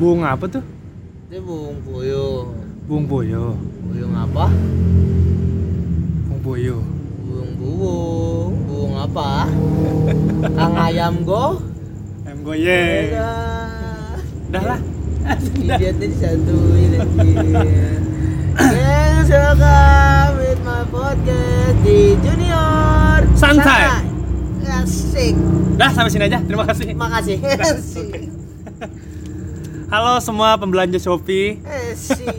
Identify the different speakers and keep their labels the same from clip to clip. Speaker 1: Buung apa tuh?
Speaker 2: Ini Bung Puyuh.
Speaker 1: Buung boyo.
Speaker 2: Buyung apa?
Speaker 1: Buung boyo.
Speaker 2: Bung Buung. Bung apa? Kang Ayam Go.
Speaker 1: Em goyeng.
Speaker 2: Dadah.
Speaker 1: Udah lah.
Speaker 2: Idiotnya disatuin anjir. Yes, welcome with my podcast di Junior
Speaker 1: Santai.
Speaker 2: Santai. Asik.
Speaker 1: Dah sampai sini aja. Terima kasih.
Speaker 2: Makasih. Asik.
Speaker 1: Halo semua pembelanja Shopee.
Speaker 2: Asik.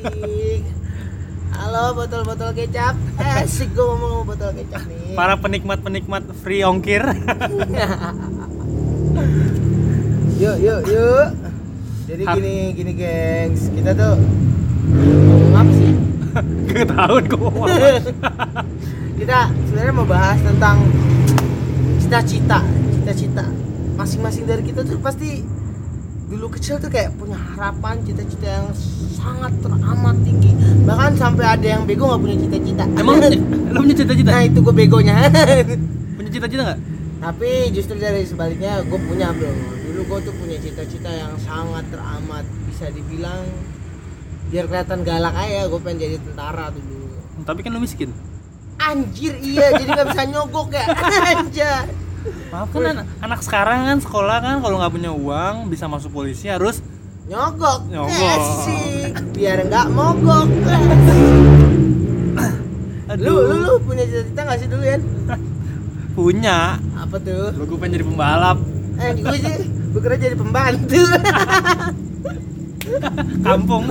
Speaker 2: Halo botol-botol kecap. Asik gua mau ngomong botol kecap nih.
Speaker 1: Para penikmat-penikmat free ongkir.
Speaker 2: yuk yuk yuk jadi
Speaker 1: Hap.
Speaker 2: gini gini gengs kita tuh ngomong apa sih
Speaker 1: Ketahuan gua. mau apa.
Speaker 2: kita sebenarnya mau bahas tentang cita-cita cita-cita masing-masing dari kita tuh pasti dulu kecil tuh kayak punya harapan cita-cita yang sangat teramat tinggi bahkan sampai ada yang bego nggak punya cita-cita
Speaker 1: Emang lu punya cita-cita?
Speaker 2: nah itu gue begonya
Speaker 1: Punya cita-cita enggak?
Speaker 2: tapi justru dari sebaliknya gue punya bro dulu gue tuh punya cita-cita yang sangat teramat bisa dibilang biar kelihatan galak aja gue pengen jadi tentara dulu
Speaker 1: Tapi kan lu miskin.
Speaker 2: anjir iya jadi nggak bisa nyogok ya anjir
Speaker 1: Maaf kan anak, anak sekarang kan sekolah kan kalau nggak punya uang bisa masuk polisi harus
Speaker 2: nyogok
Speaker 1: Nyogok.
Speaker 2: Asik. biar nggak mogok lu lu lu punya cita-cita nggak sih dulu ya
Speaker 1: punya
Speaker 2: apa tuh
Speaker 1: lu gue pengen jadi pembalap
Speaker 2: eh gue sih gue kira jadi pembantu
Speaker 1: kampung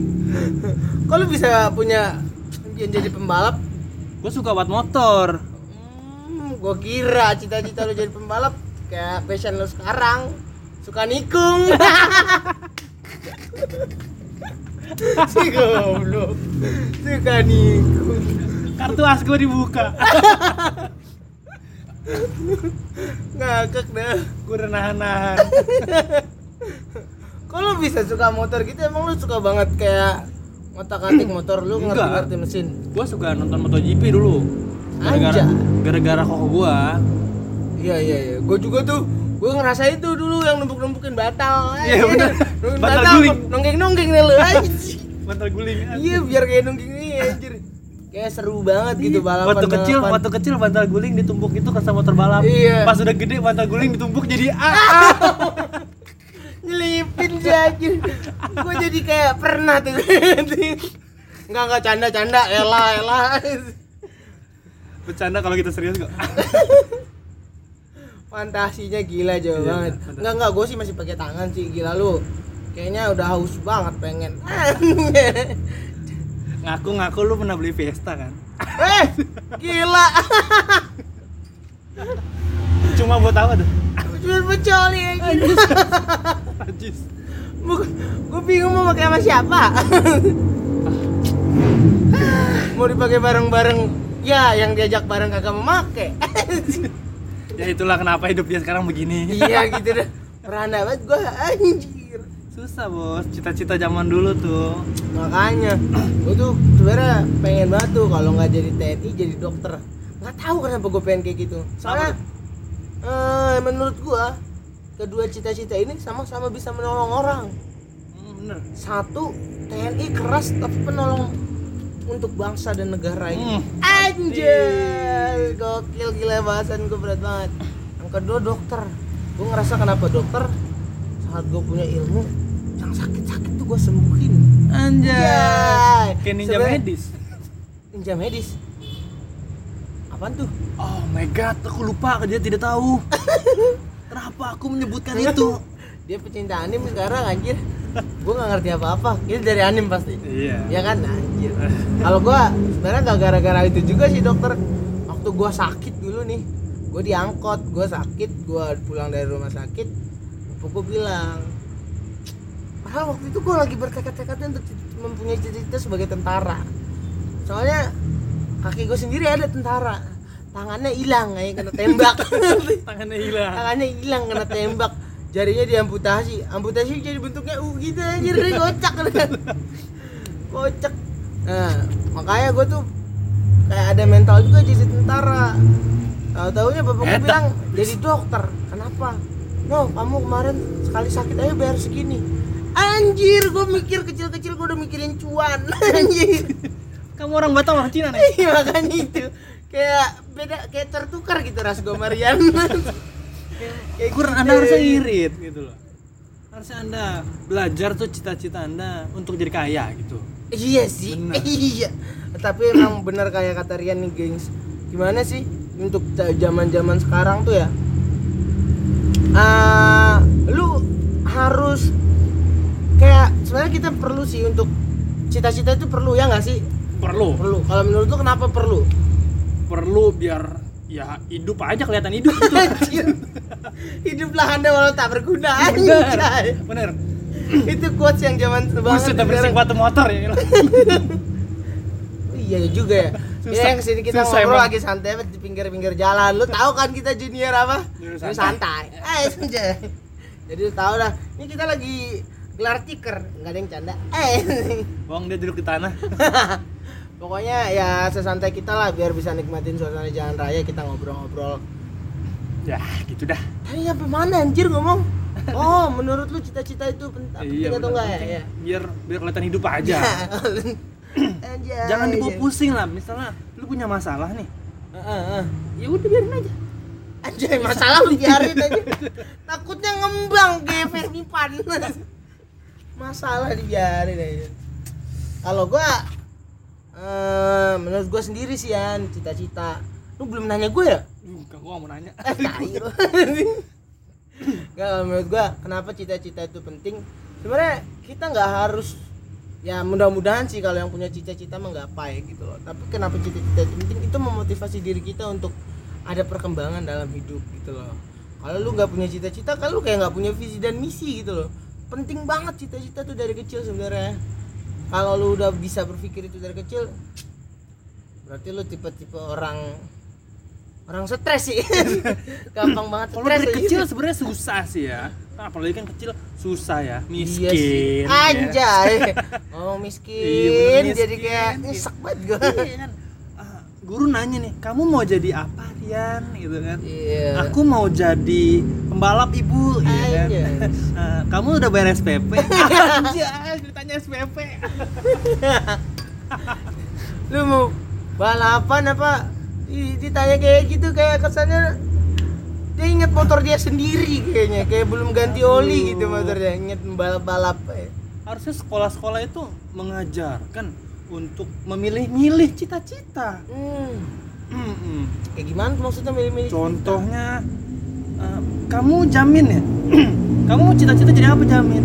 Speaker 2: kok lu bisa punya yang jadi pembalap
Speaker 1: gue suka buat motor
Speaker 2: Hmm, gue kira cita-cita lu jadi pembalap kayak passion lu sekarang suka nikung. si goblok. Suka nikung.
Speaker 1: kartu as gue dibuka
Speaker 2: Ngakak dah.
Speaker 1: gue udah nahan-nahan
Speaker 2: Kok lu bisa suka motor gitu emang lu suka banget kayak ngotak-atik motor lu
Speaker 1: Enggak.
Speaker 2: ngerti-ngerti mesin.
Speaker 1: gue suka nonton MotoGP dulu gara-gara
Speaker 2: Anjay.
Speaker 1: gara-gara kok gue
Speaker 2: Iya iya iya. Gue juga tuh gue ngerasa itu dulu yang numpuk-numpukin batal.
Speaker 1: Iya, bener.
Speaker 2: Numpukin
Speaker 1: Batal
Speaker 2: batal,
Speaker 1: guling.
Speaker 2: Nonggeng-nonggeng deh lu. anjing.
Speaker 1: mantel guling kan?
Speaker 2: Iya biar kayak nungging nih anjir Kayak seru banget gitu balapan
Speaker 1: Iya. waktu kecil waktu kecil bantal guling ditumpuk itu ke sama motor balap
Speaker 2: Iya. Ah!
Speaker 1: pas udah gede bantal guling ditumpuk jadi A
Speaker 2: Nyelipin sih anjir Gue jadi kayak pernah tuh Enggak enggak canda-canda elah elah
Speaker 1: bercanda kalau kita serius kok
Speaker 2: Fantasinya gila jauh
Speaker 1: Iya,
Speaker 2: banget
Speaker 1: bener.
Speaker 2: Enggak enggak gue sih masih pakai tangan sih gila lu Kayaknya udah haus banget pengen Eh,
Speaker 1: ngaku ngaku lu pernah beli Fiesta kan
Speaker 2: Eh gila
Speaker 1: cuma buat apa tuh
Speaker 2: Cuma pecoli anjir
Speaker 1: Najis.
Speaker 2: Gue bingung mau pakai sama siapa. mau dipakai bareng-bareng. Ya, yang diajak bareng kagak mau make.
Speaker 1: ya itulah kenapa hidup dia sekarang begini
Speaker 2: iya gitu deh. Merana banget gue anjir.
Speaker 1: susah bos cita-cita zaman dulu tuh
Speaker 2: Makanya gue tuh sebenarnya pengen banget tuh kalau nggak jadi TNI jadi dokter. Nggak tahu kenapa gue pengen kayak gitu. Soalnya eh, menurut gue kedua cita-cita ini sama-sama bisa menolong orang.
Speaker 1: Hmm, bener
Speaker 2: Satu TNI keras tapi penolong untuk bangsa dan negara ini.
Speaker 1: Hmm.
Speaker 2: Anjir, gokil gila bahasan gue berat banget. Yang kedua dokter, gue ngerasa kenapa dokter saat gue punya ilmu yang sakit-sakit tuh gue sembuhin. Anjay.
Speaker 1: Kayak ninja
Speaker 2: Sebenarnya-
Speaker 1: medis.
Speaker 2: Ninja medis. Apaan tuh?
Speaker 1: Oh my god, aku lupa dia tidak tahu. Kenapa aku menyebutkan Kan itu?
Speaker 2: Dia pecinta anim sekarang anjir. Gue nggak ngerti apa-apa. Ini dari anim pasti.
Speaker 1: Iya.
Speaker 2: Ya kan anjir. Kalau gua sebenarnya nggak gara-gara itu juga sih dokter. Waktu gua sakit dulu nih, gua diangkot, gua sakit, gua pulang dari rumah sakit. Bapak gua bilang, padahal waktu itu gua lagi bertekad-tekad untuk mempunyai cita-cita sebagai tentara. Soalnya kaki gua sendiri ada tentara, tangannya hilang kayak kena tembak.
Speaker 1: Tangannya hilang.
Speaker 2: tangannya hilang kena tembak jarinya diamputasi amputasi jadi bentuknya u gitu anjir dari kocak kocak nah makanya gue tuh kayak ada mental juga jadi tentara tahu taunya bapak gue
Speaker 1: Edak.
Speaker 2: bilang jadi dokter kenapa no kamu kemarin sekali sakit aja bayar segini anjir gue mikir kecil-kecil gue udah mikirin cuan anjir
Speaker 1: Kamu orang Batam orang Cina nih.
Speaker 2: iya makanya itu kayak beda kayak tertukar gitu ras gue Marian Kayak
Speaker 1: Kurang
Speaker 2: gitu.
Speaker 1: Anda harusnya irit gitu loh. Iya, Harusnya Anda belajar tuh cita-cita Anda untuk jadi kaya gitu.
Speaker 2: Iya sih.
Speaker 1: Benar.
Speaker 2: Iya. Tapi emang benar kayak kata Rian nih, gengs. Gimana sih untuk ta- zaman-zaman sekarang tuh ya? Ah, lu harus kayak sebenarnya kita perlu sih untuk cita-cita itu perlu ya nggak sih?
Speaker 1: Perlu,
Speaker 2: Perlu. Kalau menurut lu kenapa perlu?
Speaker 1: perlu biar ya hidup aja kelihatan hidup gitu.
Speaker 2: Anjir. Hiduplah Anda walau tak berguna. anjay.
Speaker 1: Bener.
Speaker 2: itu quotes yang zaman banget.
Speaker 1: Buset, udah berisik
Speaker 2: sekarang.
Speaker 1: batu motor ya.
Speaker 2: Iya juga ya.
Speaker 1: Susah.
Speaker 2: Ya, yang sini kita
Speaker 1: Susah
Speaker 2: ngobrol
Speaker 1: emang.
Speaker 2: lagi santai banget di pinggir-pinggir jalan. Lu tahu kan kita junior apa?
Speaker 1: Junior
Speaker 2: Junior
Speaker 1: santai.
Speaker 2: santai. Eh, santai. Jadi lu tahu lah. Ini kita lagi gelar tiker, nggak ada yang canda. Eh.
Speaker 1: Bang dia duduk di tanah.
Speaker 2: Pokoknya ya sesantai kita lah biar bisa nikmatin suasana jalan raya kita ngobrol-ngobrol.
Speaker 1: Ya, gitu dah.
Speaker 2: Tadi sampai mana anjir ngomong? Oh, menurut lu cita-cita itu pen- penting atau
Speaker 1: bener.
Speaker 2: enggak ya?
Speaker 1: Penting.
Speaker 2: Iya.
Speaker 1: Biar biar kelihatan hidup aja.
Speaker 2: Anjay.
Speaker 1: Jangan dibawa pusing lah. Misalnya lu punya masalah nih.
Speaker 2: Heeh, heeh.
Speaker 1: Ya udah biarin aja.
Speaker 2: Anjay, masalah lu biarin aja. Takutnya ngembang kayak Fermi Pan. Masalah dibiarin aja. Kalau gua eh, menurut gua sendiri sih Yan, cita-cita. Lu belum nanya gue ya?
Speaker 1: Duh, gua nggak mau nanya.
Speaker 2: Eh, tai lu. Nggak, kalau menurut gua kenapa cita-cita itu penting? Sebenarnya kita nggak harus ya mudah-mudahan sih kalau yang punya cita-cita menggapai gitu loh. Tapi kenapa cita-cita itu penting? Itu memotivasi diri kita untuk ada perkembangan dalam hidup gitu loh. Kalau lu nggak punya cita-cita, kalau lu kayak nggak punya visi dan misi gitu loh. Penting banget cita-cita tuh dari kecil sebenarnya. Kalau lu udah bisa berpikir itu dari kecil, berarti lu tipe-tipe orang orang stres sih. Gampang banget
Speaker 1: Kalau
Speaker 2: stres ya, iya.
Speaker 1: dari
Speaker 2: aja.
Speaker 1: kecil sebenarnya susah sih ya. Nah, apalagi kan kecil susah ya, miskin.
Speaker 2: Iya sih.
Speaker 1: ya.
Speaker 2: Anjay. Ngomong miskin,
Speaker 1: Iya, bener, miskin.
Speaker 2: jadi kayak nyesek banget gue.
Speaker 1: Iya kan? Ah, guru nanya nih, kamu mau jadi apa Rian? Gitu kan?
Speaker 2: Iya.
Speaker 1: Aku mau jadi pembalap ibu, iya kan?
Speaker 2: Anjay.
Speaker 1: Ah, kamu udah bayar SPP? Anjay, ditanya SPP.
Speaker 2: Lu mau balapan apa? Ih, Ditanya kayak gitu kayak kesannya dia inget motor dia sendiri kayaknya kayak belum ganti oli gitu
Speaker 1: Aduh.
Speaker 2: motornya inget balap-balap eh.
Speaker 1: Harusnya sekolah-sekolah itu mengajarkan untuk memilih-milih cita-cita.
Speaker 2: hmm.
Speaker 1: Mm-mm.
Speaker 2: kayak gimana tuh maksudnya milih-milih
Speaker 1: Contohnya, eh, kamu jamin ya? kamu mau cita-cita jadi apa jamin?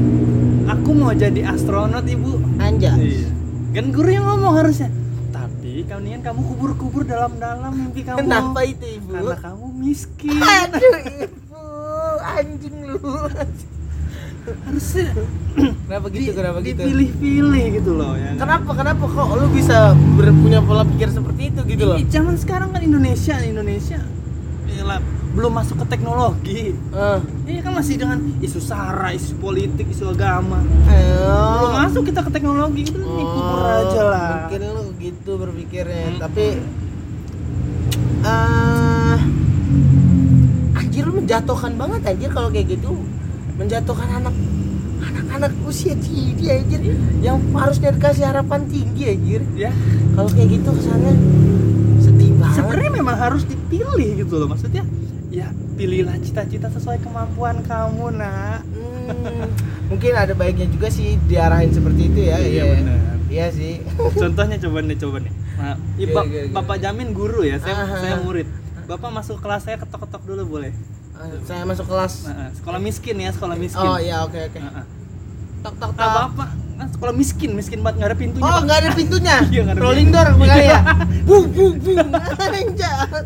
Speaker 1: Aku mau jadi astronot ibu.
Speaker 2: anjay
Speaker 1: Kan guru yang ngomong harusnya. Tapi kan kamu kubur-kubur dalam-dalam mimpi kamu.
Speaker 2: kenapa itu ibu
Speaker 1: Karena kamu miskin.
Speaker 2: aduh ibu anjing lu
Speaker 1: harusnya
Speaker 2: kenapa
Speaker 1: di-
Speaker 2: gitu kenapa gitu
Speaker 1: dipilih-pilih gitu loh ya. kan?
Speaker 2: Kenapa kenapa kok lu bisa ber- punya pola pikir seperti itu gitu loh?
Speaker 1: Ih, Zaman sekarang kan Indonesia, Indonesia Yalah, belum masuk ke teknologi.
Speaker 2: Eh,
Speaker 1: Ini kan masih dengan isu sara, isu politik, isu agama.
Speaker 2: Eh, ayo.
Speaker 1: belum masuk kita ke teknologi itu
Speaker 2: Oh,
Speaker 1: ikut aja lah
Speaker 2: Mungkin lu gitu
Speaker 1: Hmm.
Speaker 2: berpikirnya, tapi eh anjir lu menjatuhkan banget anjir kalau kayak gitu. Menjatuhkan anak anak-anak usia dini anjir yang harusnya dikasih harapan tinggi anjir.
Speaker 1: ya
Speaker 2: Kalau kayak gitu kesannya sedih banget.
Speaker 1: sebenarnya memang harus dipilih gitu loh maksudnya ya pilihlah cita-cita sesuai kemampuan kamu nak
Speaker 2: Hmm, mungkin ada baiknya juga sih diarahin seperti itu ya.
Speaker 1: Iya, benar.
Speaker 2: Iya sih.
Speaker 1: contohnya coba nih coba nih Nah, i-
Speaker 2: Gila,
Speaker 1: bap-
Speaker 2: gila, gila.
Speaker 1: bapak jamin guru ya saya
Speaker 2: Aha.
Speaker 1: saya murid bapak masuk kelas saya ketok-ketok dulu boleh
Speaker 2: Ah, Saya masuk kelas.
Speaker 1: Nah, eh, sekolah miskin ya sekolah miskin
Speaker 2: Oh iya oke oke.
Speaker 1: Nah, eh.
Speaker 2: Tok tok
Speaker 1: Ah,
Speaker 2: tok.
Speaker 1: bapak kan sekolah miskin miskin banget nggak ada pintunya
Speaker 2: Oh
Speaker 1: Pak.
Speaker 2: nggak ada pintunya.
Speaker 1: Iya, nggak ada
Speaker 2: Rolling door
Speaker 1: pintu.
Speaker 2: kali
Speaker 1: Iya.
Speaker 2: ya. Bung bung bung. Anjay.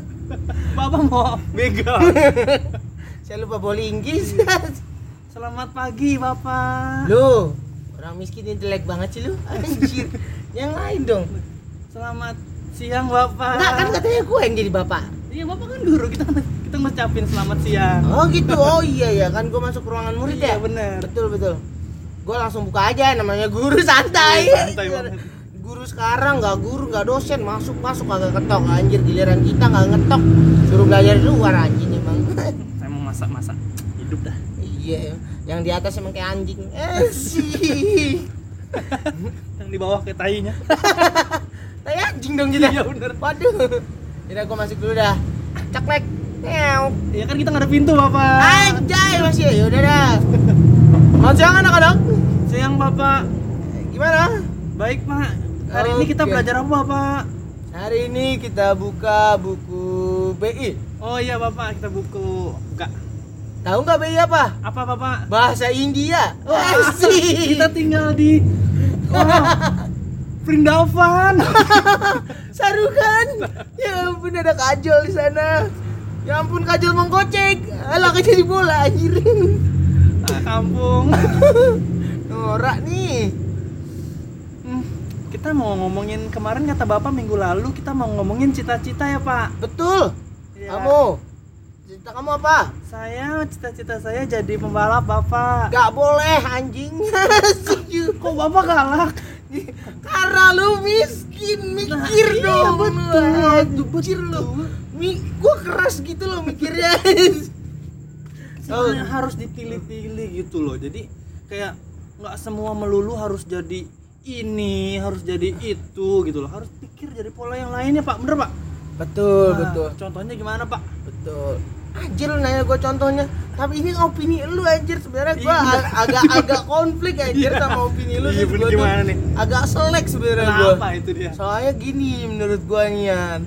Speaker 1: bapak mau begal
Speaker 2: Saya lupa bola Inggris.
Speaker 1: selamat pagi bapak
Speaker 2: Lu orang miskin ini jelek banget sih lu. Anjir. Yang lain dong.
Speaker 1: selamat siang bapak
Speaker 2: Enggak kan katanya gue yang jadi bapak.
Speaker 1: Iya bapak kan guru kita kita ngucapin selamat siang.
Speaker 2: Oh gitu. Oh iya ya kan gue masuk ruangan murid
Speaker 1: iya
Speaker 2: ya.
Speaker 1: bener.
Speaker 2: Betul betul. Gue langsung buka aja namanya guru santai.
Speaker 1: Iya, santai banget.
Speaker 2: guru sekarang nggak guru nggak dosen masuk masuk agak ketok anjir giliran kita nggak ngetok suruh belajar di luar anjing emang.
Speaker 1: Saya mau masak masak hidup dah.
Speaker 2: Iya, yang di atas emang kayak anjing eh sih
Speaker 1: yang di bawah kayak tainya
Speaker 2: tai anjing dong kita
Speaker 1: Iya, bener.
Speaker 2: waduh jadi aku masuk dulu dah ceklek Meow.
Speaker 1: ya kan kita nggak ada pintu bapak
Speaker 2: anjay masih ya udah dah selamat siang anak-anak
Speaker 1: siang bapak
Speaker 2: gimana
Speaker 1: baik pak hari ini kita
Speaker 2: Oke.
Speaker 1: belajar apa bapak
Speaker 2: hari ini kita buka buku BI
Speaker 1: oh iya bapak kita buku buka
Speaker 2: tahu nggak BI apa
Speaker 1: apa bapak
Speaker 2: bahasa India Eh,
Speaker 1: Wah,
Speaker 2: Asik.
Speaker 1: Oh. kita tinggal di wah, Prindavan.
Speaker 2: Sarukan. Ya ampun ada kajol di sana. Ya ampun kajol menggocek. Alah kajol di bola anjir.
Speaker 1: Ah, kampung.
Speaker 2: Norak nih.
Speaker 1: Hmm, Kita mau ngomongin kemarin kata Bapak minggu lalu kita mau ngomongin cita-cita ya, Pak.
Speaker 2: Betul.
Speaker 1: Iya.
Speaker 2: Kamu. Cerita kamu apa?
Speaker 1: Saya cita-cita saya jadi pembalap, Bapak.
Speaker 2: Gak boleh anjing. Setuju.
Speaker 1: Kok Bapak galak? Gitu.
Speaker 2: Karena lu miskin, mikir
Speaker 1: Nah, iya,
Speaker 2: dong.
Speaker 1: betul,
Speaker 2: Aduh, Mikir lu. Mi, gua keras gitu loh mikirnya. Oh.
Speaker 1: Sebenarnya harus dipilih-pilih gitu loh. Jadi kayak nggak semua melulu harus jadi ini, harus jadi itu gitu loh. Harus pikir jadi pola yang lainnya, Pak. Bener, Pak?
Speaker 2: betul,
Speaker 1: Nah,
Speaker 2: betul.
Speaker 1: Contohnya gimana, Pak?
Speaker 2: Betul. Anjir lu nanya gue contohnya. Tapi ini opini lu anjir sebenarnya gue
Speaker 1: Iya.
Speaker 2: agak-agak konflik anjir
Speaker 1: Iya.
Speaker 2: sama opini
Speaker 1: Iya,
Speaker 2: lu. Terus
Speaker 1: bener
Speaker 2: gua tuh
Speaker 1: gimana nih?
Speaker 2: Agak selek sebenarnya gue.
Speaker 1: Kenapa itu dia?
Speaker 2: Soalnya gini menurut gue Nian.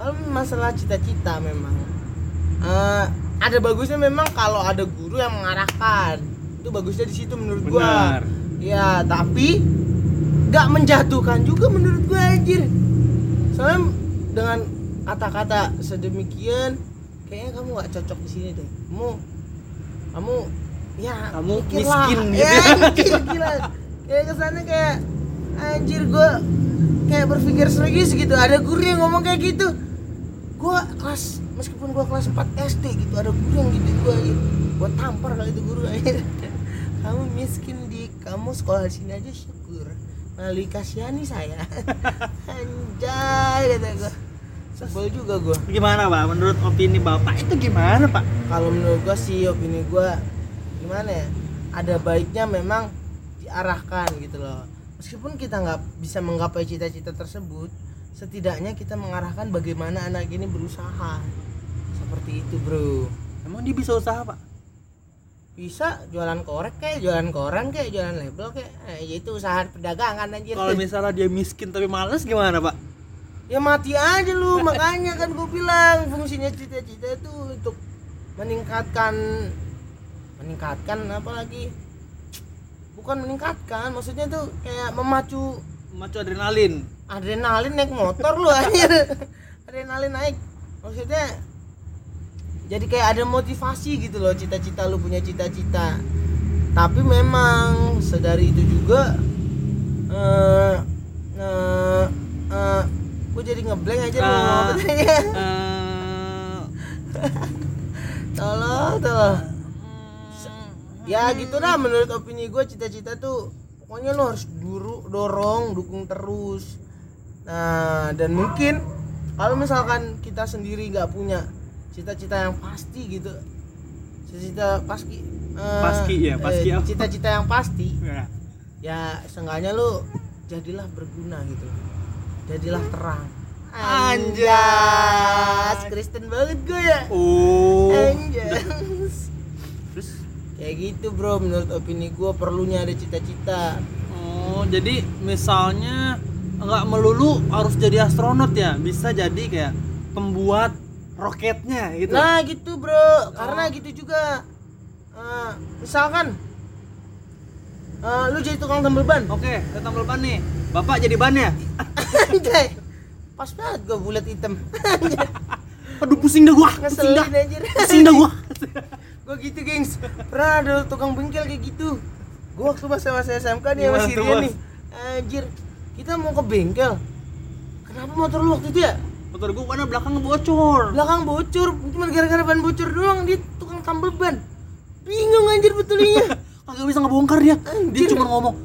Speaker 2: Kalau masalah cita-cita memang eh, ada bagusnya memang kalau ada guru yang mengarahkan. Itu bagusnya di situ menurut gue.
Speaker 1: Benar.
Speaker 2: Ya, tapi gak menjatuhkan juga menurut gue anjir. Soalnya dengan kata-kata sedemikian, kayaknya kamu gak cocok di sini deh. Kamu, kamu, ya
Speaker 1: Kamu
Speaker 2: mikirlah.
Speaker 1: miskin gitu.
Speaker 2: Ya, anjir, gila. Kayak kesana kayak anjir gue kayak berpikir serius gitu. Ada guru yang ngomong kayak gitu. Gue kelas meskipun gue kelas 4 SD gitu ada guru yang gitu gue gue tampar kali itu guru anjir kamu miskin di kamu sekolah di sini aja syukur melalui kasihani saya anjay kata gue sebel juga gue
Speaker 1: Gimana, Pak? Menurut opini Bapak itu gimana, Pak?
Speaker 2: kalau menurut gue sih opini gue gimana ya ada baiknya memang diarahkan gitu loh meskipun kita nggak bisa menggapai cita-cita tersebut setidaknya kita mengarahkan bagaimana anak ini berusaha seperti itu bro
Speaker 1: Emang dia bisa usaha, Pak?
Speaker 2: bisa jualan korek kayak jualan koran kayak jualan label kayak eh, ya itu usaha perdagangan anjir
Speaker 1: Kalau misalnya dia miskin tapi males gimana, Pak?
Speaker 2: ya mati aja lu makanya kan gue bilang fungsinya cita-cita itu untuk meningkatkan meningkatkan apa lagi bukan meningkatkan maksudnya tuh kayak memacu
Speaker 1: Macu adrenalin.
Speaker 2: adrenalin naik motor lu anjir adrenalin naik maksudnya jadi kayak ada motivasi gitu loh cita-cita lu punya cita-cita tapi memang sedari itu juga eh eh eh, gua jadi ngeblank aja lu ngomong apa tadi ya
Speaker 1: Eh,
Speaker 2: tolong tolong ya gitu dah menurut opini gue cita-cita tuh pokoknya lo harus duru, dorong dukung terus nah dan mungkin kalau misalkan kita sendiri nggak punya cita-cita yang pasti gitu cita-cita paski eh,
Speaker 1: Paski, ya, paski
Speaker 2: eh,
Speaker 1: apa?
Speaker 2: cita-cita yang pasti
Speaker 1: ya.
Speaker 2: ya seenggaknya lu jadilah berguna gitu jadilah terang
Speaker 1: Anjas.
Speaker 2: Kristen banget gue ya
Speaker 1: Oh.
Speaker 2: Eh. Anjas
Speaker 1: Terus
Speaker 2: Kayak gitu bro, menurut opini gue perlunya ada cita-cita
Speaker 1: oh, jadi misalnya nggak melulu harus jadi astronot ya, bisa jadi kayak pembuat roketnya gitu. Oh.
Speaker 2: Nah gitu bro, karena gitu juga Eh, Misalkan eh, Lu jadi tukang tambal ban
Speaker 1: Oke, kita tambal ban nih. Bapak jadi ya? bannya.
Speaker 2: Anjay. Pas banget gue bulat hitam
Speaker 1: Aduh pusing dah gua. Pusing dah.
Speaker 2: Ngeselin anjir
Speaker 1: Pusing dah gua.
Speaker 2: Gue gitu gengs Pernah ada tukang bengkel kayak gitu Gue waktu masa-masa SMK nih
Speaker 1: Gimana
Speaker 2: sama si
Speaker 1: tuh,
Speaker 2: Rian
Speaker 1: Mas?
Speaker 2: nih Anjir Kita mau ke bengkel Kenapa motor lu waktu itu ya?
Speaker 1: Motor gua karena belakang bocor.
Speaker 2: belakang bocor cuma gara-gara ban bocor doang dia tukang tambal ban bingung anjir betulnya
Speaker 1: kagak bisa ngebongkar dia dia
Speaker 2: Anjir.
Speaker 1: cuma ngomong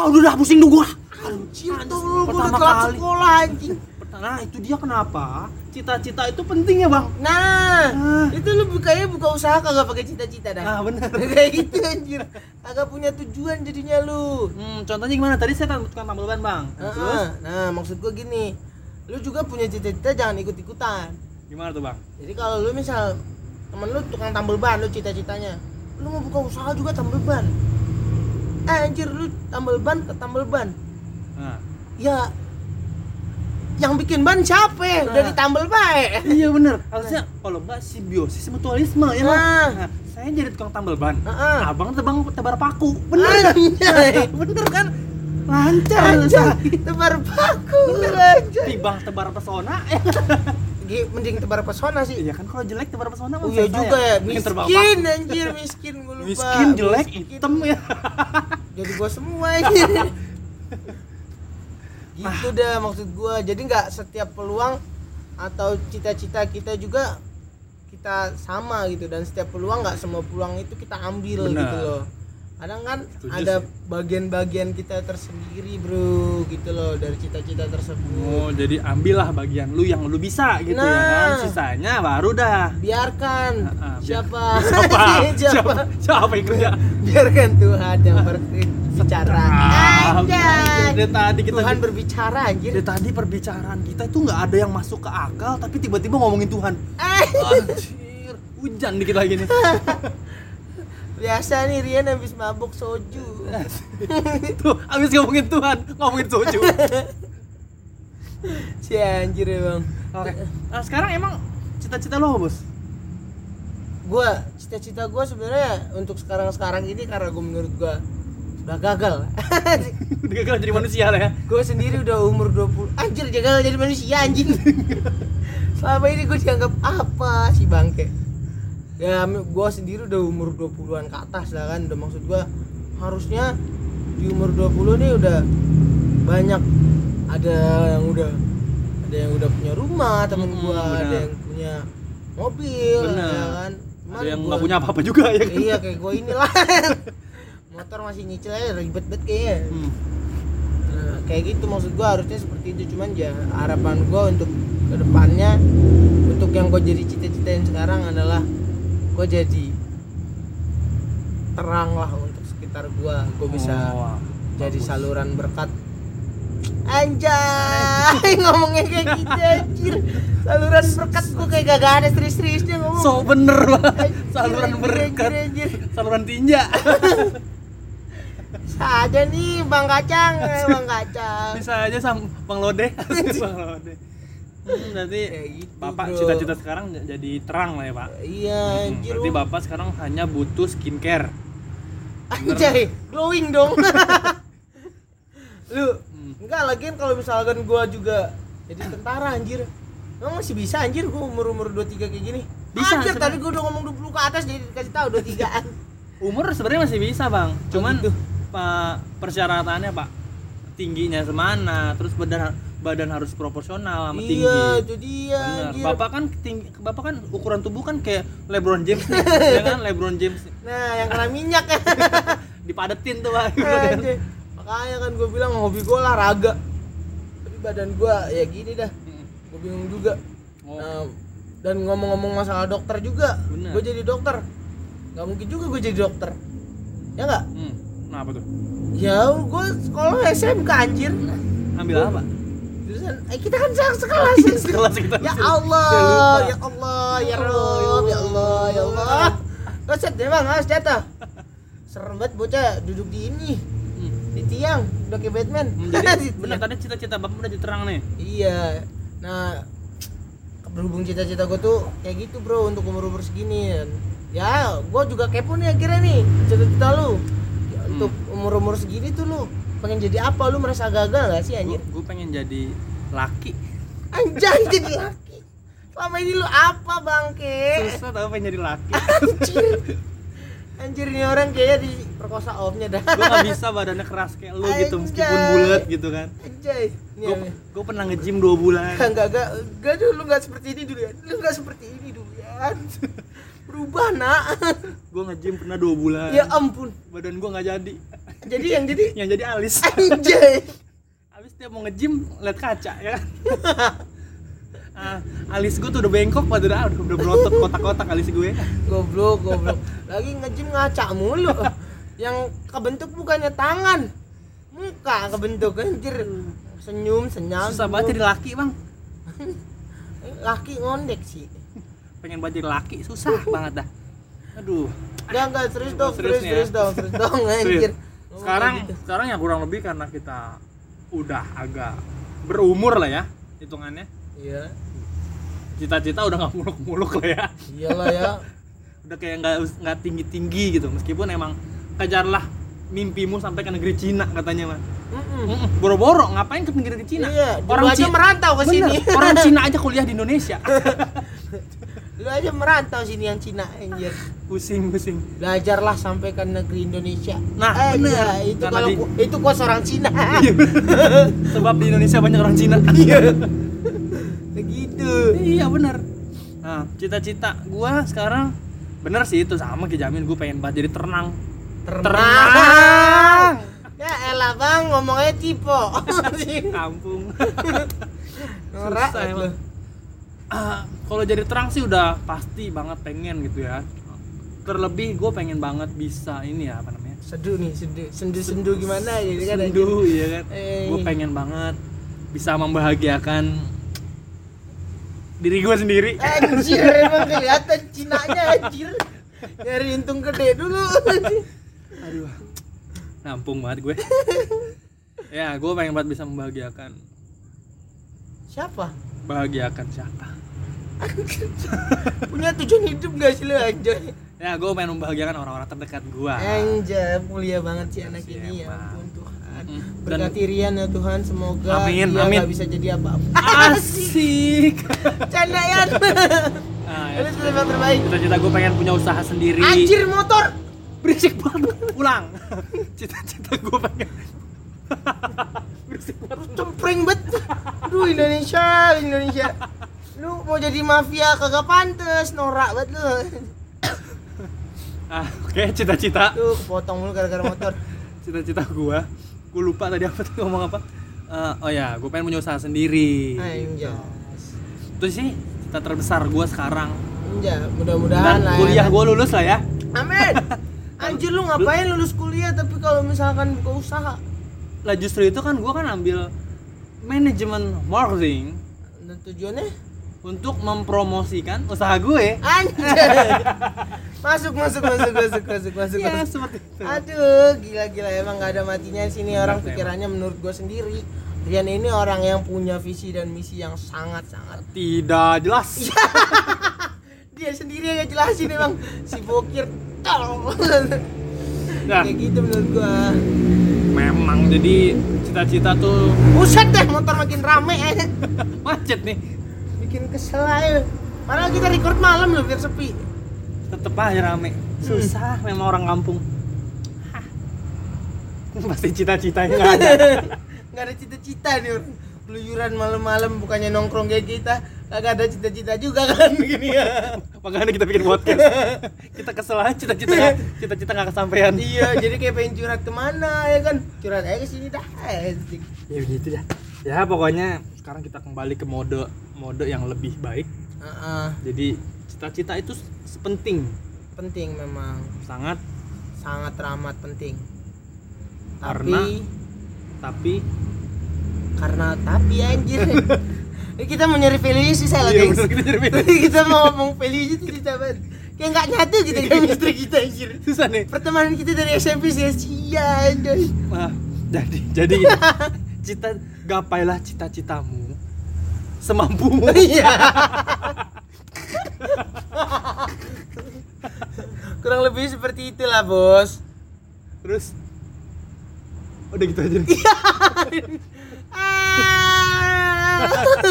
Speaker 1: ah udah dah pusing dong gua
Speaker 2: anjir tolol gua udah
Speaker 1: Pertama
Speaker 2: telat
Speaker 1: kali.
Speaker 2: sekolah anjing
Speaker 1: nah itu dia kenapa cita-cita itu penting ya bang
Speaker 2: Nah,
Speaker 1: Ah.
Speaker 2: itu lu bukanya buka usaha kagak pakai cita-cita dah.
Speaker 1: nah bener
Speaker 2: Kayak gitu anjir. Kagak punya tujuan jadinya lu.
Speaker 1: hmm, contohnya gimana tadi saya tukang tambal ban bang Nah, terus
Speaker 2: Heeh. Nah, maksud gua gini. Lu juga punya cita-cita jangan ikut-ikutan.
Speaker 1: gimana tuh bang
Speaker 2: Jadi kalau lu misal temen lu tukang tambal ban lu cita-citanya, lu mau buka usaha juga tambal ban. Eh, Anjir lu tambal ban ke tambal ban.
Speaker 1: nah.
Speaker 2: Ya yang bikin ban siapa? Udah
Speaker 1: Nah.
Speaker 2: ditambal bae.
Speaker 1: iya bener harusnya kalau enggak simbiosis mutualisme ya bang
Speaker 2: Nah.
Speaker 1: nah, saya jadi tukang tambal ban
Speaker 2: Heeh.
Speaker 1: abang tebang tebar paku bener nggak?
Speaker 2: Ah, Anjay.
Speaker 1: bener kan lancar
Speaker 2: Anjay,
Speaker 1: lancar
Speaker 2: tebar paku anjay.
Speaker 1: tibang tebar pesona eh
Speaker 2: Gi- mending tebar pesona sih.
Speaker 1: iya kan kalau jelek tebar pesona
Speaker 2: Oh
Speaker 1: maksud
Speaker 2: iya
Speaker 1: saya.
Speaker 2: juga ya,
Speaker 1: Mungkin terbang
Speaker 2: miskin anjir, miskin gue
Speaker 1: paku.
Speaker 2: lupa.
Speaker 1: miskin jelek hitam ya
Speaker 2: Jadi gua semua anjir. gitu dah maksud gua. Jadi nggak setiap peluang atau cita-cita kita juga kita sama gitu dan setiap peluang nggak semua peluang itu kita ambil
Speaker 1: Benar.
Speaker 2: gitu loh. Kadang kan
Speaker 1: Setuju
Speaker 2: ada
Speaker 1: sih.
Speaker 2: bagian-bagian kita tersendiri, Bro, gitu loh dari cita-cita tersebut.
Speaker 1: oh jadi ambillah bagian lu yang lu bisa gitu ya kan
Speaker 2: Nah.
Speaker 1: sisanya baru dah
Speaker 2: biarkan
Speaker 1: Ah, ah, biar-
Speaker 2: siapa
Speaker 1: siapa siapa
Speaker 2: siapa
Speaker 1: siapa yang kerja
Speaker 2: biarkan Tuhan yang berbicara
Speaker 1: Ah, dari
Speaker 2: anjay
Speaker 1: tadi kita
Speaker 2: Tuhan berbicara anjir
Speaker 1: dari tadi perbicaraan kita itu nggak ada yang masuk ke akal tapi tiba-tiba ngomongin Tuhan
Speaker 2: Eh,
Speaker 1: anjir hujan dikit lagi nih
Speaker 2: biasa nih Rian habis mabuk soju
Speaker 1: tuh abis ngomongin Tuhan ngomongin soju
Speaker 2: si anjir ya bang
Speaker 1: Oke. Nah, sekarang emang cita-cita lo apa, Bos?
Speaker 2: gue cita-cita gue sebenarnya untuk sekarang-sekarang ini karena gue menurut gue udah gagal
Speaker 1: Udah gagal jadi manusia lah ya.
Speaker 2: gue sendiri udah umur 20 anjir gagal jadi manusia anjing selama ini gue dianggap apa sih bangke ya gue sendiri udah umur 20-an ke atas lah kan udah maksud gue harusnya di umur 20 nih udah banyak ada yang udah ada yang udah punya rumah temen
Speaker 1: Mm-mm,
Speaker 2: gue ada
Speaker 1: Hmm, benar.
Speaker 2: yang punya mobil
Speaker 1: Benar.
Speaker 2: ya kan Cuman
Speaker 1: Ada yang
Speaker 2: gua-
Speaker 1: nggak punya apa-apa juga ya kan.
Speaker 2: iya kayak gue inilah motor masih nyicil aja ribet banget kayaknya
Speaker 1: Hmm.
Speaker 2: Nah, kayak gitu maksud gua harusnya seperti itu cuman ya harapan gua untuk kedepannya untuk yang gua jadi cita-citain sekarang adalah gua jadi terang lah untuk sekitar gua gua bisa
Speaker 1: Oh,
Speaker 2: jadi
Speaker 1: bagus.
Speaker 2: saluran berkat anjay ngomongnya kayak gitu anjir saluran berkat gua kayak gak ada serius-seriusnya ngomong
Speaker 1: So bener banget.
Speaker 2: Anjir,
Speaker 1: Saluran
Speaker 2: anjir,
Speaker 1: berkat.
Speaker 2: anjir, anjir.
Speaker 1: Saluran tinja.
Speaker 2: saja nih bang kacang eh, bang kacang
Speaker 1: Bisa aja sang Bang Lode. Bang Lode. Hmm, berarti
Speaker 2: Kayak gitu,
Speaker 1: Bapak
Speaker 2: bro.
Speaker 1: cita-cita sekarang j- jadi terang lah ya, Pak.
Speaker 2: iya
Speaker 1: Hmm,
Speaker 2: anjir
Speaker 1: berarti Bapak sekarang hanya butuh skincare.
Speaker 2: Anjay, glowing dong. lu
Speaker 1: Hmm.
Speaker 2: enggak lagian kalau misalkan gua juga jadi tentara anjir. Emang masih bisa anjir gua umur-umur 23 kayak gini.
Speaker 1: Bisa,
Speaker 2: anjir,
Speaker 1: sebenarnya.
Speaker 2: tadi gua udah ngomong 20 ke atas jadi dikasih tahu 23-an.
Speaker 1: Umur sebenarnya masih bisa, Bang. Cuman
Speaker 2: gitu.
Speaker 1: Pak persyaratannya, Pak. Tingginya semana, terus badan badan harus proporsional sama tinggi.
Speaker 2: iya, itu dia
Speaker 1: Benar.
Speaker 2: anjir.
Speaker 1: Bapak kan tinggi, bapak kan ukuran tubuh kan kayak LeBron James nih, ya kan LeBron James
Speaker 2: Nah, yang kena minyak ya.
Speaker 1: dipadetin tuh pak.
Speaker 2: anjir. Makanya kan gua bilang hobi gua olahraga. Tapi badan gua ya gini dah. Gua bingung juga.
Speaker 1: Hmm. Oh.
Speaker 2: Nah, dan ngomong-ngomong masalah dokter juga,
Speaker 1: Bener.
Speaker 2: gue jadi dokter. Nggak mungkin juga gue jadi dokter. Ya nggak?
Speaker 1: Hmm. Nah apa tuh?
Speaker 2: Ya, gue sekolah SMK anjir.
Speaker 1: Ambil
Speaker 2: Gua-
Speaker 1: apa?
Speaker 2: Jurusan, eh, kita kan sekarang sekelas.
Speaker 1: Iya,
Speaker 2: ya.
Speaker 1: sekelas kita.
Speaker 2: Ya
Speaker 1: Saya
Speaker 2: Allah,
Speaker 1: lupa.
Speaker 2: ya Allah, ya
Speaker 1: Ya Allah, ya
Speaker 2: Allah, ya Allah,
Speaker 1: Allah.
Speaker 2: ya Allah. Keset deh bang, harus jatah. Serem banget bocah duduk di ini,
Speaker 1: Hmm.
Speaker 2: di tiang, udah kayak Batman.
Speaker 1: Hmm, Jadi
Speaker 2: Di tiang.
Speaker 1: benar tadi cita-cita bapak udah diterang nih.
Speaker 2: Iya. Nah, berhubung cita-cita gue tuh kayak gitu bro untuk umur umur segini. Ya, gue juga kepo nih akhirnya nih cita-cita lu. Ya,
Speaker 1: Hmm.
Speaker 2: Untuk umur umur segini tuh lu pengen jadi apa? Lu merasa gagal gak sih anjir?
Speaker 1: Gue pengen jadi laki.
Speaker 2: Anjay jadi laki. Selama ini lu apa bangke?
Speaker 1: Susah tau pengen jadi laki.
Speaker 2: Anjir. Anjir ini orang kayaknya diperkosa omnya dah.
Speaker 1: Gue gak bisa badannya keras kayak lu gitu meskipun
Speaker 2: Anjay. Iya,
Speaker 1: bulat gitu kan.
Speaker 2: Anjay. Ini
Speaker 1: Gue
Speaker 2: aneh.
Speaker 1: gue pernah nge-gym 2 bulan.
Speaker 2: Enggak, enggak, enggak, enggak dulu enggak seperti ini dulu ya. Lu enggak seperti ini dulu ya. Berubah, Nak.
Speaker 1: Gue nge-gym pernah 2 bulan.
Speaker 2: Ya ampun.
Speaker 1: Badan gue nggak jadi.
Speaker 2: Jadi yang jadi
Speaker 1: Yang jadi alis.
Speaker 2: anjay.
Speaker 1: Alis setiap mau nge-gym lihat kaca ya kan Ah, alis gue tuh udah bengkok pada udah udah berotot kotak-kotak alis gue
Speaker 2: goblok goblok lagi ngejim ngaca mulu yang kebentuk bukannya tangan muka kebentuk anjir senyum senyal
Speaker 1: susah banget jadi laki bang
Speaker 2: Eh, laki ngondek sih
Speaker 1: pengen banget jadi laki susah banget dah Oh, aduh
Speaker 2: enggak enggak serius
Speaker 1: Serius
Speaker 2: dong serius
Speaker 1: nih ya.
Speaker 2: serius dong serius dong anjir Ngomong
Speaker 1: sekarang
Speaker 2: kayak gitu.
Speaker 1: sekarang ya kurang lebih karena kita udah agak berumur lah ya hitungannya
Speaker 2: iya
Speaker 1: cita-cita udah nggak muluk-muluk lah ya
Speaker 2: iyalah ya
Speaker 1: udah kayak nggak nggak tinggi-tinggi gitu meskipun emang kejarlah mimpimu sampai ke negeri Cina katanya mah
Speaker 2: Mm-mm.
Speaker 1: Mm-mm. boro-boro ngapain ke negeri Cina
Speaker 2: iya
Speaker 1: orang
Speaker 2: orang aja
Speaker 1: Ci-
Speaker 2: merantau ke
Speaker 1: Bener,
Speaker 2: sini
Speaker 1: orang Cina aja kuliah di Indonesia
Speaker 2: lu aja merantau sini yang Cina anjir
Speaker 1: pusing pusing
Speaker 2: belajarlah sampai ke negeri Indonesia
Speaker 1: Nah,
Speaker 2: eh,
Speaker 1: bener.
Speaker 2: iya, itu
Speaker 1: Karena
Speaker 2: kalau
Speaker 1: di- Iya.
Speaker 2: ku- itu kos orang Cina
Speaker 1: sebab di Indonesia banyak orang Cina
Speaker 2: begitu
Speaker 1: iya bener nah cita-cita gua sekarang bener sih itu sama kayak Jamin gua pengen banget jadi ternak Ternak.
Speaker 2: Ya elah bang, ngomongnya tipe.
Speaker 1: kampung
Speaker 2: Norak
Speaker 1: Susah
Speaker 2: lu.
Speaker 1: emang. Ah, kalau jadi terang sih udah pasti banget pengen gitu ya terlebih gue pengen banget bisa ini ya apa namanya
Speaker 2: Seduh nih, seduh. Sendu-sendu gimana ya kan?
Speaker 1: sendu ya kan
Speaker 2: Eh.
Speaker 1: gue pengen banget bisa membahagiakan diri gue sendiri
Speaker 2: Eh. Anjir, emang kelihatan Cinanya anjir. Nyari untung gede dulu.
Speaker 1: aduh nampung banget gue ya gue pengen banget bisa membahagiakan
Speaker 2: Siapa?
Speaker 1: bahagiakan siapa
Speaker 2: Punya tujuan hidup gak sih lu anjay?
Speaker 1: ya gue pengen membahagiakan orang-orang terdekat gue
Speaker 2: Anjay, mulia banget sih anak
Speaker 1: Siapa?
Speaker 2: ini ya ampun Tuhan.
Speaker 1: Mm. Dan-
Speaker 2: Berkati Rian ya Tuhan, semoga
Speaker 1: Amin,
Speaker 2: dia
Speaker 1: amin.
Speaker 2: gak bisa jadi apa-apa.
Speaker 1: asik
Speaker 2: Canda ya.
Speaker 1: nah, ya.
Speaker 2: Lu sudah yang terbaik.
Speaker 1: cita-cita gue pengen punya usaha sendiri
Speaker 2: Anjir motor.
Speaker 1: berisik banget ulang cita-cita gue pengen berisik banget
Speaker 2: cempring bet aduh Indonesia Indonesia lu mau jadi mafia kagak pantes norak banget lu
Speaker 1: ah oke cita-cita
Speaker 2: tuh kepotong lu gara-gara motor
Speaker 1: cita-cita gue gue lupa tadi apa tuh ngomong apa Eh, oh ya gue pengen punya usaha sendiri Gitu.
Speaker 2: anjas
Speaker 1: itu sih cita terbesar gue sekarang
Speaker 2: anjas mudah-mudahan
Speaker 1: dan
Speaker 2: lah ya.
Speaker 1: kuliah gue lulus lah ya
Speaker 2: amin anjir lu ngapain lulus kuliah tapi kalau misalkan buka usaha
Speaker 1: lah justru itu kan gue kan ambil manajemen marketing
Speaker 2: dan tujuannya
Speaker 1: untuk mempromosikan usaha gue
Speaker 2: anjir masuk masuk masuk masuk masuk masuk,
Speaker 1: ya
Speaker 2: masuk.
Speaker 1: seperti itu
Speaker 2: Aduh, gila-gila emang gak ada matinya di sini orang
Speaker 1: Benar,
Speaker 2: pikirannya menurut gue sendiri. Rian ini orang yang punya visi dan misi yang sangat-sangat.
Speaker 1: tidak jelas
Speaker 2: Dia sendiri yang jelasin emang si bokir tol.
Speaker 1: nah
Speaker 2: Kayak gitu menurut gua.
Speaker 1: memang jadi cita-cita tuh
Speaker 2: Buset deh motor makin rame eh.
Speaker 1: macet nih
Speaker 2: Bikin kesel aja. Padahal kita record malam loh biar sepi.
Speaker 1: tetep aja rame susah memang orang kampung Hmm. Hah. pasti cita-citanya nggak ada
Speaker 2: Gak ada cita-cita nih orang. Keluyuran malam-malam bukannya nongkrong kayak kita. Kagak ada cita-cita juga kan begini ya.
Speaker 1: Iya. makanya kita bikin podcast kita kesel aja cita-cita cita-cita nggak kesampaian
Speaker 2: iya jadi kayak pengen curhat kemana ya kan curhat aja ke sini dah eh, asik.
Speaker 1: ya begitu ya ya pokoknya sekarang kita kembali ke mode mode yang lebih baik
Speaker 2: Heeh,
Speaker 1: jadi cita-cita itu s- penting
Speaker 2: penting memang
Speaker 1: sangat
Speaker 2: sangat teramat penting
Speaker 1: Karena- tapi
Speaker 2: tapi karena tapi anjir Ini kita mau nyari value sih salah
Speaker 1: Iya,
Speaker 2: guys
Speaker 1: bener, kita nyari value.
Speaker 2: kita mau ngomong value itu kita banget kayak nggak nyatu gitu chemistry kita anjir
Speaker 1: susah nih
Speaker 2: pertemanan kita dari SMP sia-sia anjir
Speaker 1: Wah, jadi jadi gini. cita gapailah cita-citamu semampumu
Speaker 2: iya kurang lebih seperti itulah bos
Speaker 1: terus udah gitu aja nih.
Speaker 2: Iya.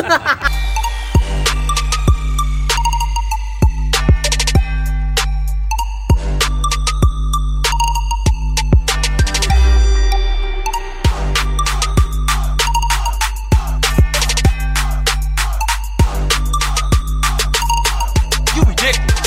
Speaker 2: Ah.
Speaker 3: You reject.